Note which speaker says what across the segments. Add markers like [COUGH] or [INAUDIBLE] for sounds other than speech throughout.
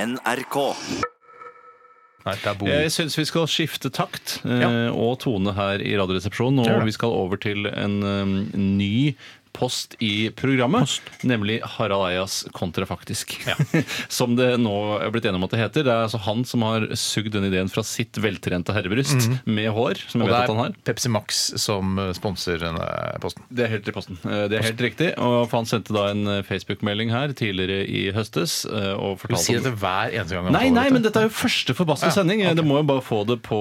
Speaker 1: NRK.
Speaker 2: Nei, det er bo.
Speaker 3: Jeg syns vi skal skifte takt eh,
Speaker 2: Ja.
Speaker 3: og tone her i Radioresepsjonen.
Speaker 2: Gjør
Speaker 3: Og
Speaker 2: det.
Speaker 3: vi skal over til en em, ny post i programmet, nemlig Harald Eias kontrafaktisk. [LAUGHS] som det nå er blitt enige om at det heter. Det er altså han som har sugd den ideen fra sitt veltrente herrebryst med hår. som jeg
Speaker 2: Og det
Speaker 3: vet at han har.
Speaker 2: er Pepsi Max som eh, sponser denne posten.
Speaker 3: Det er helt i posten. Eh, Det er helt riktig. Og han sendte da en eh, Facebook-melding her tidligere i høstes eh, og
Speaker 2: Du
Speaker 3: fortalte
Speaker 2: sier dette hver eneste gang. han
Speaker 3: Nei,
Speaker 2: får
Speaker 3: nei,
Speaker 2: dette.
Speaker 3: men dette er jo første forbaskede
Speaker 2: Ja,
Speaker 3: sending.
Speaker 2: ok.
Speaker 3: Det må jo bare få det på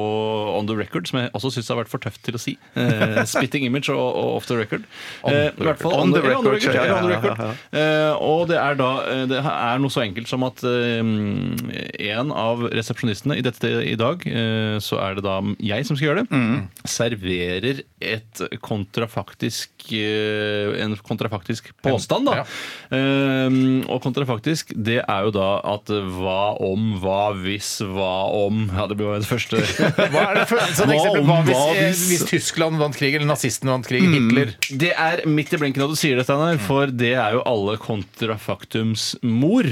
Speaker 3: on the record, som jeg også syns har vært for tøft til å si. Eh, spitting image og, og off the record. Eh, i hvert fall
Speaker 2: record.
Speaker 3: on the, ja, on the
Speaker 2: record,
Speaker 3: record. Ja, on
Speaker 2: ja,
Speaker 3: the
Speaker 2: ja,
Speaker 3: record. Eh, og det er da eh, Det er noe så enkelt som at eh, en av resepsjonistene i dette i dag, eh, så er det da jeg som skal gjøre det, serverer et kontrafaktisk eh, en kontrafaktisk påstand, da.
Speaker 2: Ja.
Speaker 3: Ehm, og kontrafaktisk, det er jo da at eh, hva om, hva hvis, hva om Ja, det blir jo det første.
Speaker 2: Hva er det for et sånt
Speaker 3: Hva
Speaker 2: eksempel?
Speaker 3: om-
Speaker 2: Hva
Speaker 3: hva
Speaker 2: hvis, Mm. eh,
Speaker 3: hvis-
Speaker 2: hvis Tyskland vant krig, eller nazistene vant krig, Hitler
Speaker 3: Det er midt i blinken at du sier det,
Speaker 4: Mm.
Speaker 3: Steinar, for det er jo alle kontrafaktums mor. Og,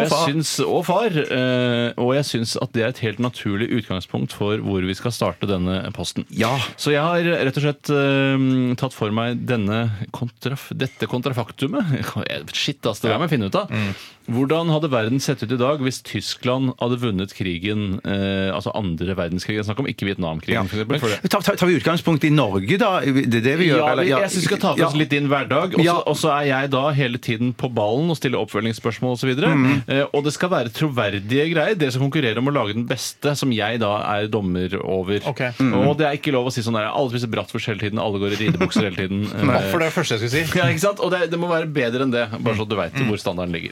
Speaker 3: jeg
Speaker 4: Mm. far.
Speaker 3: Syns, og far. eh, og jeg syns at det er et helt naturlig utgangspunkt for hvor vi skal starte denne posten.
Speaker 4: Ja.
Speaker 3: Så jeg har rett og slett eh, tatt for meg denne kontraf dette kontrafaktumet. [LAUGHS] Shit, ass, det der må jeg finne ut av.
Speaker 4: Mm.
Speaker 3: Hvordan hadde verden sett ut i dag hvis Tyskland hadde vunnet krigen, eh, altså andre verdenskrig? Jeg snakker om ikke Vietnamkrigen, for eksempel. For det.
Speaker 4: Tar, tar, tar vi utgangspunkt i Norge, da? Det er det vi gjør?
Speaker 3: Ja,
Speaker 4: eller?
Speaker 3: vi- jeg synes vi skal ta for oss
Speaker 4: Ja.
Speaker 3: litt din hverdag. Og så,
Speaker 4: Ja.
Speaker 3: og så er jeg da hele tiden på ballen og stiller oppfølgingsspørsmål osv. Og, mm. eh, og det skal være troverdige greier. Dere som konkurrerer om å lage den beste, som jeg da er dommer over.
Speaker 2: Ok.
Speaker 4: Mm.
Speaker 3: Og det er ikke lov å si sånn der alle spiser brattfors hele tiden, alle går i ridebukser hele tiden.
Speaker 4: [LAUGHS]
Speaker 3: Eh,
Speaker 2: Hvorfor det første jeg skulle si?
Speaker 3: ja, ikke sant? Og det, det må være bedre enn det, bare så du veit hvor standarden ligger.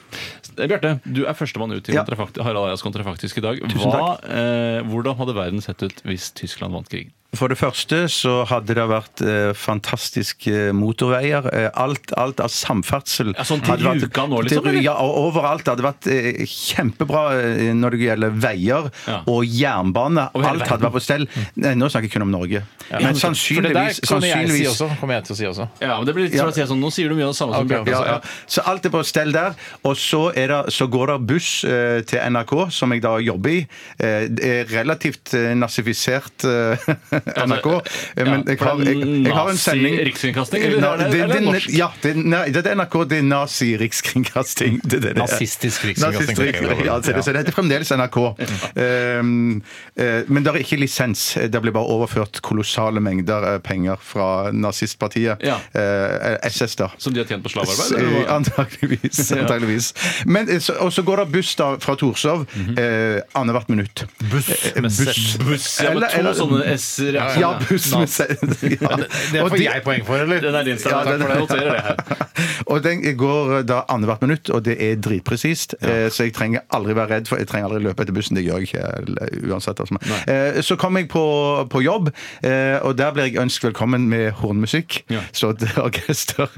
Speaker 3: Eh, Bjarte, du er førstemann ut til
Speaker 4: Mm. Ja.
Speaker 3: kontrafakt, Harald Eias kontrafaktisk i dag.
Speaker 4: Tusen
Speaker 3: Hva, eh, hvordan hadde verden sett ut hvis Tyskland vant krigen?
Speaker 4: For det første så hadde det vært eh, fantastiske motorveier. Eh, alt, alt av samferdsel
Speaker 3: Ja, sånn til
Speaker 4: hadde vært-
Speaker 3: Rjukan nå, liksom,
Speaker 4: til-
Speaker 3: eller?
Speaker 4: Ja, og overalt. Det hadde vært eh, kjempebra eh, når det gjelder veier
Speaker 3: Ja.
Speaker 4: og jernbane.
Speaker 3: Over hele
Speaker 4: Alt hadde
Speaker 3: verden.
Speaker 4: vært på stell. Nei, nå snakker jeg kun om Norge. Men
Speaker 2: For det der
Speaker 4: sannsynligvis,
Speaker 2: kommer jeg, si
Speaker 4: sannsynligvis
Speaker 2: også, kommer jeg til å si også.
Speaker 3: Ja, men det blir litt som å si sånn, Nå sier du mye av det samme som
Speaker 2: Ok,
Speaker 3: Bjarte.
Speaker 4: ja,
Speaker 3: sa.
Speaker 4: ja. Så alt er på stell der. Og så, er det, så går det buss eh, til NRK, som jeg da jobber i. Eh, det er relativt eh, nazifisert eh, [LAUGHS] NRK. Eh, Men jeg har, jeg, jeg har en sending
Speaker 3: Rikskringkasting,
Speaker 4: Eh, na-
Speaker 3: eller,
Speaker 4: det- det-
Speaker 3: eller norsk?
Speaker 4: Ja, det, nei, det er NRK, det er nazi-rikskringkasting. Det, er det det er.
Speaker 2: Nazistisk rikskringkasting.
Speaker 4: Nazistisk rikskringkasting, ja, så det- Så det heter fremdeles NRK. Um, eh, men det er ikke lisens. Det blir bare overført kolossale mengder eh, penger fra nazistpartiet.
Speaker 3: Ja.
Speaker 4: Eh, SS, da.
Speaker 3: Som de har tjent på slavearbeid?
Speaker 4: Eh,
Speaker 3: eller hva?
Speaker 4: Antakeligvis.
Speaker 3: [LAUGHS] Ja.
Speaker 4: antakeligvis. Men, eh, så, og så går det buss da fra Torshov
Speaker 3: Mhm.
Speaker 4: eh, annethvert minutt.
Speaker 2: Buss
Speaker 4: Eh,
Speaker 2: med
Speaker 4: buss.
Speaker 2: Z.
Speaker 3: Buss, ja, med
Speaker 4: Eller-
Speaker 3: to
Speaker 4: eller-
Speaker 3: sånne S-er. ja.
Speaker 4: Ja, buss med
Speaker 2: Nas-
Speaker 4: seg. [LAUGHS] Ja.
Speaker 2: Det
Speaker 4: Og
Speaker 2: får
Speaker 4: de-
Speaker 2: jeg poeng for, eller?
Speaker 3: Den er din, Steinar.
Speaker 4: Ja,
Speaker 3: Takk
Speaker 4: den-
Speaker 3: for det. Jeg noterer det her.
Speaker 4: Og den går eh, da annethvert minutt, og det er dritpresist. eh, Så jeg trenger aldri være redd, for jeg trenger aldri løpe etter bussen. Det gjør jeg ikke eh, uansett. Altså. Eh, Så kom jeg på, på jobb, eh, og der ble jeg ønsket velkommen med hornmusikk.
Speaker 3: Ja.
Speaker 4: Så et [LAUGHS] orkester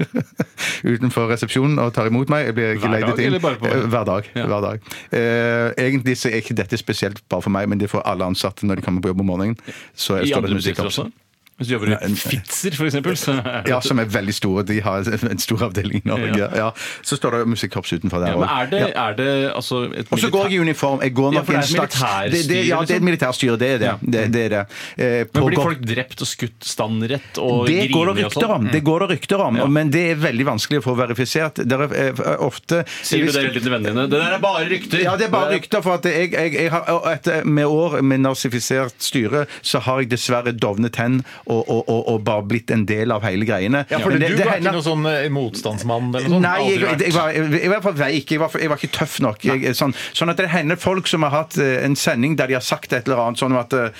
Speaker 4: utenfor resepsjonen og tar imot meg. Jeg blir ikke
Speaker 3: Hver dag,
Speaker 4: leid inn.
Speaker 3: eller bare på-
Speaker 4: Eh, Hver dag.
Speaker 3: Ja.
Speaker 4: Hver dag. Eh, Egentlig så er ikke dette spesielt bare for meg, men det er for alle ansatte når de kommer på jobb om morgenen. Så
Speaker 3: I
Speaker 4: står det
Speaker 3: andre
Speaker 4: musikk
Speaker 3: bedrifter
Speaker 4: opp.
Speaker 3: også? Hvis du jobber i Fitzer, for eksempel, så er det
Speaker 4: Ja, som er veldig store. De har en stor avdeling i Norge.
Speaker 3: Ja.
Speaker 4: Ja. Så står det musikkorps utenfor der
Speaker 3: ja, men
Speaker 4: òg.
Speaker 3: er det, er det altså et
Speaker 4: Og så går jeg i uniform. Jeg går
Speaker 3: Ja,
Speaker 4: nok
Speaker 3: for det er
Speaker 4: en
Speaker 3: et
Speaker 4: slags
Speaker 3: militærstyre,
Speaker 4: det, det, Ja, det er et
Speaker 3: liksom.
Speaker 4: militærstyre. Det er det.
Speaker 3: Ja.
Speaker 4: det, det, er det. Eh, på
Speaker 3: Men blir
Speaker 4: godt-
Speaker 3: folk drept og skutt standrett og
Speaker 4: det går det
Speaker 3: griner og
Speaker 4: rykter
Speaker 3: sånn?
Speaker 4: om, det går det rykter om,
Speaker 3: Ja.
Speaker 4: men det er veldig vanskelig å få verifisert. Det er eh, ofte
Speaker 3: sånn? Sier du det hele tiden til vennene dine? Det der er bare rykter!
Speaker 4: Ja, det er bare
Speaker 3: Det
Speaker 4: rykter. For at jeg, jeg, jeg har, og etter, med år med nazifisert styre, så har jeg dessverre dovnet hen og, og, og, og bare blitt en del av hele greiene.
Speaker 2: Ja, for
Speaker 4: Men
Speaker 2: du
Speaker 4: det- det
Speaker 2: var
Speaker 4: hender-
Speaker 2: ikke noen sånn eh, motstandsmann eller noe sånt?
Speaker 4: Nei, jeg,
Speaker 2: Sånn Aldri vært.
Speaker 4: jeg, var, jeg, jeg var for veik. Jeg var, for, jeg var ikke tøff nok. Jeg, sånn, sånn at det hender folk som har hatt eh, en sending der de har sagt et eller annet sånn at eh,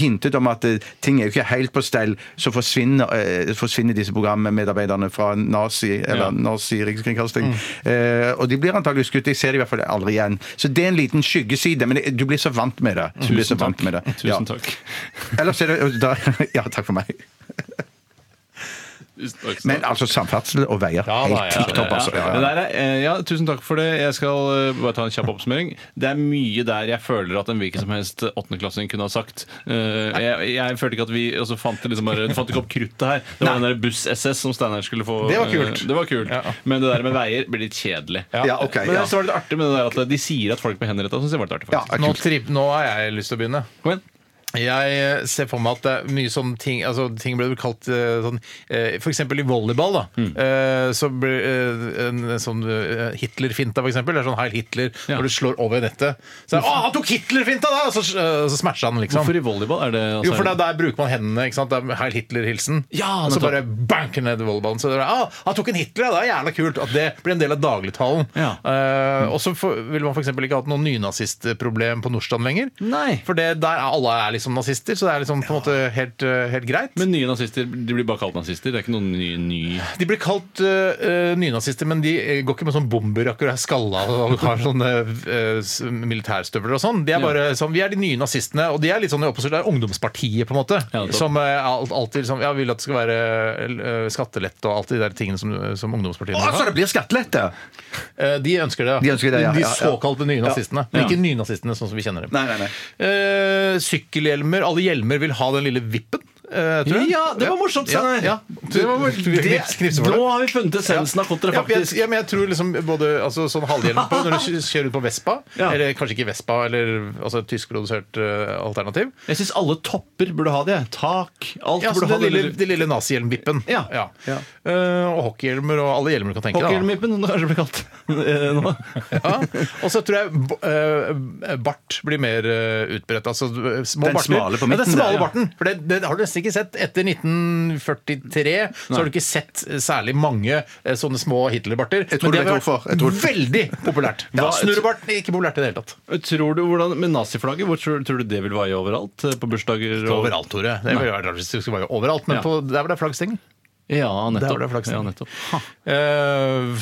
Speaker 4: hintet om at eh, ting er jo ikke helt på stell, så forsvinner, eh, forsvinner disse programmedarbeiderne fra Nazi eller
Speaker 3: Ja.
Speaker 4: Nazi Rikskringkasting. Eh, og de blir antakeligvis skutt. Jeg ser det i hvert fall aldri igjen. Så det er en liten skyggeside, men det- du blir så vant med det. Du blir så vant med det.
Speaker 3: Tusen takk.
Speaker 4: [LAUGHS] Ja. Ellers er det da, Ja, takk for meg.
Speaker 3: Tusen takk.
Speaker 4: Men altså samferdsel og veier.
Speaker 2: Ja,
Speaker 4: helt
Speaker 2: da, ja,
Speaker 4: tipp topp, altså. Ja,
Speaker 3: Det
Speaker 4: ja.
Speaker 3: der er, eh, ja, tusen takk for det. Jeg skal eh, bare ta en kjapp oppsummering. Det er mye der jeg føler at en hvilken som helst åttendeklassing kunne ha sagt. Eh, jeg, jeg følte ikke at vi altså, fant, det liksom bare, fant ikke opp kruttet her. Det var den der buss-SS som Steinar skulle få.
Speaker 2: Det var
Speaker 3: eh,
Speaker 2: kult.
Speaker 3: det var kult.
Speaker 2: Ja.
Speaker 3: Men det der med veier blir litt kjedelig.
Speaker 4: Ja, ok,
Speaker 3: Men
Speaker 4: ja.
Speaker 3: så var det litt artig med det der at de sier at folk med henretta syns det var litt artig.
Speaker 4: Ja,
Speaker 3: faktisk.
Speaker 2: Nå,
Speaker 4: kult.
Speaker 2: tripp- nå har jeg lyst til å begynne.
Speaker 3: Kom igjen.
Speaker 2: Jeg eh, ser for meg at det er mye sånn ting altså Ting ble kalt eh, sånn eh, For eksempel i volleyball, da.
Speaker 3: Mm.
Speaker 2: eh, Så ble eh, en sånn eh, Hitler-finta, for eksempel. Det er sånn Heil Hitler,
Speaker 3: Ja.
Speaker 2: når du slår over nettet. Så er det, Å, han tok Hitler-finta, da! Og så, eh, så smasha han, liksom.
Speaker 3: Hvorfor i volleyball er det altså,
Speaker 2: Jo, for der, der bruker man hendene. ikke sant? Det er Heil Hitler-hilsen.
Speaker 3: Ja,
Speaker 2: og så
Speaker 3: nettopp.
Speaker 2: bare banker ned i volleyballen. Så det er, ah, han tok en Hitler, ja, det er jævla kult. At det blir en del av dagligtalen.
Speaker 3: Ja.
Speaker 2: Eh, og så for- ville man f.eks. ikke hatt noe nynazistproblem på Nordstrand lenger.
Speaker 3: Nei.
Speaker 2: For det, der er alle er liksom nazister, så det er liksom på en måte helt, eh, helt greit.
Speaker 3: Men nye nazister de blir bare kalt nazister. Det er ikke noen ny, ny
Speaker 2: de blir kalt eh, eh, nynazister, men de eh, går ikke med sånn bomberakker og er skalla og har sånne eh, s- militærstøvler og sånn. De er bare sånn, Vi er de nye nazistene, og de er litt sånn i opposisjon. Det er ungdomspartiet, på en måte.
Speaker 3: Ja, nettopp.
Speaker 2: som eh, alt, alltid liksom, ja, vil at det skal være eh, skattelett og alt de der tingene som, som ungdomspartiene
Speaker 4: Å, så
Speaker 2: har.
Speaker 4: det blir skattelette!
Speaker 2: Eh, de ønsker det,
Speaker 4: De ønsker det, ja,
Speaker 2: De,
Speaker 4: ja, ja.
Speaker 2: såkalte nye
Speaker 4: Ja.
Speaker 2: nazistene. Men ikke nynazistene sånn som vi kjenner dem.
Speaker 4: Nei, nei, nei.
Speaker 2: Eh, sykkelhjelmer. Alle hjelmer vil ha den lille vippen. eh, tror jeg.
Speaker 3: Ja, det var morsomt, Steinar.
Speaker 2: Ja, ja. Du, du, du, knipser for det.
Speaker 3: nå har vi funnet essensen av kontra,
Speaker 2: Ja, men jeg,
Speaker 3: faktisk.
Speaker 2: ja, men jeg tror liksom både altså, sånn halvhjelm på når du kj- kjører ut på Vespa,
Speaker 4: [LAUGHS]
Speaker 3: Ja.
Speaker 2: eller kanskje ikke Vespa, eller altså, et tyskprodusert eh, alternativ.
Speaker 3: Jeg syns alle topper burde ha det. Tak, alt
Speaker 4: altså,
Speaker 2: Ja, så
Speaker 3: burde ha
Speaker 2: den
Speaker 3: det.
Speaker 2: lille, den lille nazihjelmvippen.
Speaker 3: Ja.
Speaker 2: Ja. Eh, og hockeyhjelmer og alle hjelmer du kan tenke deg.
Speaker 3: Hockeyhjelmvippen, [LAUGHS] som det kanskje blir
Speaker 2: [LAUGHS]
Speaker 3: kalt. Eh, nå.
Speaker 2: da. Ja. Og så tror jeg b- eh, bart blir mer eh, utbredt. Altså eh, små
Speaker 4: Den
Speaker 2: barter.
Speaker 4: smale
Speaker 2: ja,
Speaker 4: på
Speaker 2: den
Speaker 4: midten
Speaker 2: smale
Speaker 4: der, ja.
Speaker 2: barten. For det, det har du nesten ikke sett. Etter 1943 så har du ikke sett eh, særlig mange eh, sånne små Hitler-barter.
Speaker 4: tror du
Speaker 2: Men det
Speaker 4: vet
Speaker 2: har
Speaker 4: hvorfor. Jeg tror-
Speaker 2: vært veldig populært.
Speaker 3: Ja.
Speaker 2: Snurrebarten er ikke populært i det hele tatt.
Speaker 3: Tror du hvordan, Med naziflagget, hvor tror, tror du det vil vaie overalt? Eh, På bursdager og
Speaker 2: Overalt, Tore. Det ville vært rart hvis det skulle være overalt, men
Speaker 3: Ja.
Speaker 2: på, der hvor det er flaggsteng.
Speaker 3: Ja,
Speaker 2: Der var
Speaker 3: nettopp.
Speaker 2: det flaks.
Speaker 3: Ja, nettopp.
Speaker 2: Eh,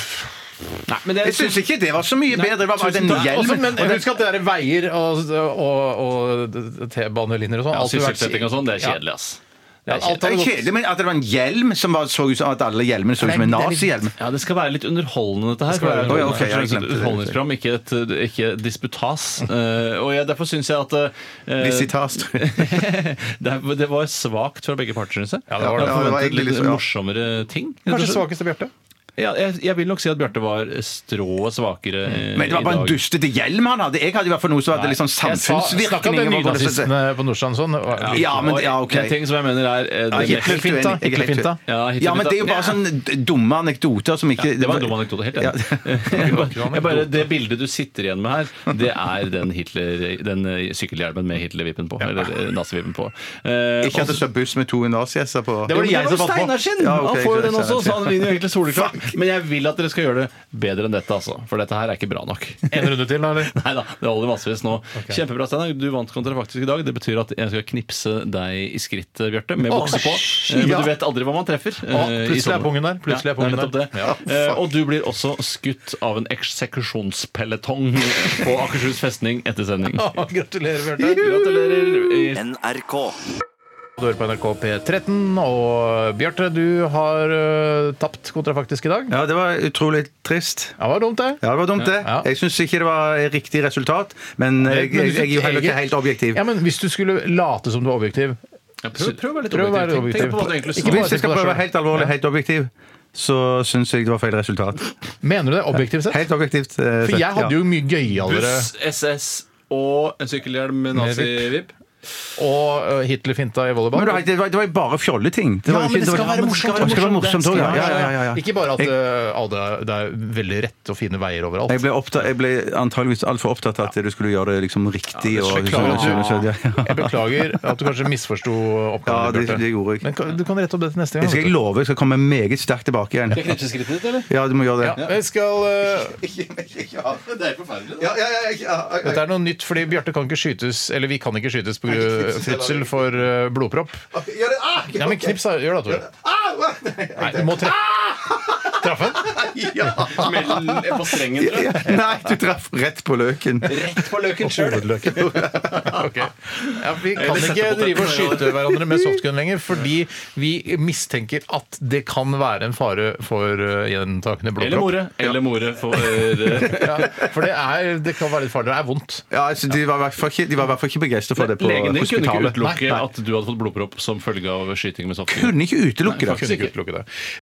Speaker 3: Nei, men det, liksom-
Speaker 4: Jeg syns ikke det var så mye bedre. Det var bare den
Speaker 2: Nei, også,
Speaker 4: hjelmen.
Speaker 2: men husk at det er veier og, og, og T-banelinjer og sånn.
Speaker 3: ja,
Speaker 2: alt ville vært-
Speaker 3: Sysselsetting og sånn, det er kjedelig, ass.
Speaker 2: Ja, alt
Speaker 4: Det
Speaker 2: hadde
Speaker 4: er
Speaker 2: gått-
Speaker 4: Kjedelig, men at det var en hjelm som var, så ut som at alle hjelmene så ut som en
Speaker 2: Det er litt-
Speaker 4: nazihjelm.
Speaker 3: Ja, Det skal være litt underholdende, dette her.
Speaker 2: skal være
Speaker 3: For det er
Speaker 4: underholdende. Å, ja, ok, jeg
Speaker 3: kanskje
Speaker 4: glemte
Speaker 3: et
Speaker 4: det.
Speaker 3: underholdningsprogram, ikke et, ikke et disputas.
Speaker 4: [LAUGHS]
Speaker 3: Eh, og jeg, derfor syns jeg at eh,
Speaker 4: Visitas.
Speaker 3: [LAUGHS] det, er- det var svakt fra begge parter, syns jeg.
Speaker 2: det var det.
Speaker 3: Jeg
Speaker 4: Ja, det var
Speaker 3: forventet
Speaker 4: egentlig
Speaker 3: litt
Speaker 4: litt- ja.
Speaker 3: morsommere ting. rett og
Speaker 2: Kanskje
Speaker 3: slett.
Speaker 2: svakeste Bjarte.
Speaker 3: Ja, jeg, jeg vil nok si at Bjarte var strået svakere eh,
Speaker 4: Mm. Men det var
Speaker 3: i
Speaker 4: bare en
Speaker 3: dag.
Speaker 4: dustete hjelm han hadde. Jeg hadde i hvert fall noe som hadde litt sånn
Speaker 2: Snakk om de
Speaker 4: samfunnsvirkning. over hvordan det-
Speaker 2: nynazistene på Nordstrand sånn. var-
Speaker 4: Ja, men ja, ok.
Speaker 3: En ting som jeg mener er eh, det
Speaker 4: Ja,
Speaker 3: mest-
Speaker 4: helt
Speaker 2: Hitlerfinta.
Speaker 4: uenig. Jeg er helt
Speaker 2: Hitlerfinta.
Speaker 4: uenig.
Speaker 3: Ja,
Speaker 4: Ja, men det er jo bare
Speaker 3: Hitler-
Speaker 4: sånn dumme anekdoter som ikke
Speaker 3: det var en dum anekdote. Helt
Speaker 4: [LAUGHS]
Speaker 3: enig. Jeg bare- jeg bare, det bildet du sitter igjen med her, det er den, Hitler, den eh, sykkelhjelmen med Hitler-vippen på. Eller eh, nazivippen på. Eh,
Speaker 4: Ikke at det står buss med to naziesser på.
Speaker 3: Det var det
Speaker 2: Jo, men
Speaker 3: jeg
Speaker 2: det
Speaker 3: som
Speaker 2: var
Speaker 3: fant
Speaker 2: Steinar
Speaker 3: på.
Speaker 4: sin! Ja, ok,
Speaker 3: han får jo
Speaker 4: greit,
Speaker 3: den også, så
Speaker 4: Steinar.
Speaker 3: han vinner jo egentlig
Speaker 4: [LAUGHS]
Speaker 3: soleklart. Men jeg vil at dere skal gjøre det bedre enn dette, altså. For dette her er ikke bra nok.
Speaker 2: En runde til, da, eller?
Speaker 3: Nei da, det holder massevis nå. Kjempebra, Steinar. Du vant kontra faktisk i dag. Det betyr at jeg skal knipse deg i skrittet, Bjarte, med
Speaker 2: Å,
Speaker 3: bukse på.
Speaker 2: shit,
Speaker 3: Eh, Men
Speaker 2: ja.
Speaker 3: du vet aldri hva man treffer. eh, i
Speaker 2: plutselig er
Speaker 3: sånne.
Speaker 2: pungen der, plutselig er
Speaker 3: Ja, det
Speaker 2: pungen
Speaker 3: nettopp
Speaker 2: der.
Speaker 3: det. Eh, Og du blir også skutt av en eksekusjonspeletong på Akershus festning etter
Speaker 2: [LAUGHS]
Speaker 3: sending.
Speaker 2: [LAUGHS] Å, Gratulerer, Bjarte.
Speaker 3: Gratulerer.
Speaker 1: NRK.
Speaker 2: Du hører på NRK P13, og Bjarte, du har eh, tapt kontrafaktisk i dag.
Speaker 4: Ja, det var utrolig trist.
Speaker 2: Ja, det var dumt, det.
Speaker 4: Ja, det var dumt, det.
Speaker 2: Ja.
Speaker 4: Jeg syns ikke det var riktig resultat, men jeg,
Speaker 2: Eh, Men
Speaker 4: jeg,
Speaker 2: du
Speaker 4: jeg er jo heller ikke
Speaker 2: eget-
Speaker 4: helt objektiv.
Speaker 2: Ja, men Hvis du skulle late som du var objektiv
Speaker 3: Prøv, prøv å være litt
Speaker 2: Prøv å være
Speaker 3: objektiv. Tenk
Speaker 2: objektiv.
Speaker 3: på hva du egentlig
Speaker 2: Ikke
Speaker 3: sa.
Speaker 2: bare
Speaker 4: Hvis jeg
Speaker 2: tenk
Speaker 4: skal
Speaker 2: på deg
Speaker 4: prøve
Speaker 2: selv.
Speaker 4: helt alvorlig, helt objektiv, så syns jeg det var feil resultat.
Speaker 2: Mener du det objektivt sett?
Speaker 4: Helt objektivt. eh,
Speaker 2: For
Speaker 4: sett,
Speaker 2: jeg hadde
Speaker 4: ja.
Speaker 2: jo mye gøyere
Speaker 3: Buss, SS og en sykkelhjelm med nazi-vipp.
Speaker 2: og eh, Hitler-finta i volleyball.
Speaker 4: men det var- det var, det var jo bare fjolleting. Det var jo ikke- det var- Ja, men Det skal være morsomt òg, ja. Ja, ja, ja, ja.
Speaker 2: Ikke bare at
Speaker 4: Jeg-
Speaker 2: eh, alle- det er veldig rett og fine veier overalt.
Speaker 4: Jeg ble, opptatt, jeg ble antageligvis altfor opptatt av at du skulle gjøre det liksom riktig. og,
Speaker 2: Jeg beklager,
Speaker 4: så- så- så- ja.
Speaker 2: du, jeg beklager at du kanskje misforsto
Speaker 4: Ja,
Speaker 2: oppgaven.
Speaker 4: det-
Speaker 2: Bjarte.
Speaker 4: det gjorde jeg.
Speaker 2: Men kan- du kan rette opp dette neste gang.
Speaker 4: Jeg skal
Speaker 2: vet du.
Speaker 4: love jeg skal komme meget sterkt tilbake igjen.
Speaker 3: Knipseskrittet ditt, eller?
Speaker 4: Ja, du må gjøre det.
Speaker 2: Ja, jeg skal eh,
Speaker 3: Det er forferdelig.
Speaker 4: Ja, ja, ja, ja, ja.
Speaker 2: Dette er noe nytt, fordi Bjarte kan ikke skytes Eller vi kan ikke skytes på grunn- fødsel for eh, blodpropp.
Speaker 4: Gjør det! Ah,
Speaker 2: Nei, men knips, da. Gjør det, Tore.
Speaker 4: ah, [LAUGHS] nei.
Speaker 2: Nei, du må tre... Traff han?
Speaker 3: Ja, smell på strengen, tror jeg.
Speaker 4: Nei, du traff rett på løken.
Speaker 3: Rett på løken sjøl.
Speaker 2: Hovedløken. Ok. Ja, vi kan
Speaker 3: Eller sette
Speaker 2: ikke
Speaker 3: på
Speaker 2: drive og
Speaker 3: tetten,
Speaker 2: skyte hverandre med softgun lenger, fordi vi mistenker at det kan være en fare for eh, gjentakende
Speaker 3: Eller
Speaker 2: blodpropp.
Speaker 3: more. Eller more for eh,
Speaker 2: Ja, for det, er, det kan være litt farlig. Det er vondt.
Speaker 4: Ja, altså, de var i hvert fall ikke, de var i hvert fall ikke begeistra for det på
Speaker 3: Legen din kunne ikke
Speaker 4: hospitalet.
Speaker 3: utelukke
Speaker 4: Nei, nei.
Speaker 3: at du hadde fått blodpropp som følge av skyting med softgun.
Speaker 4: Kunne ikke utelukke det.
Speaker 2: Kunne ikke utelukke det.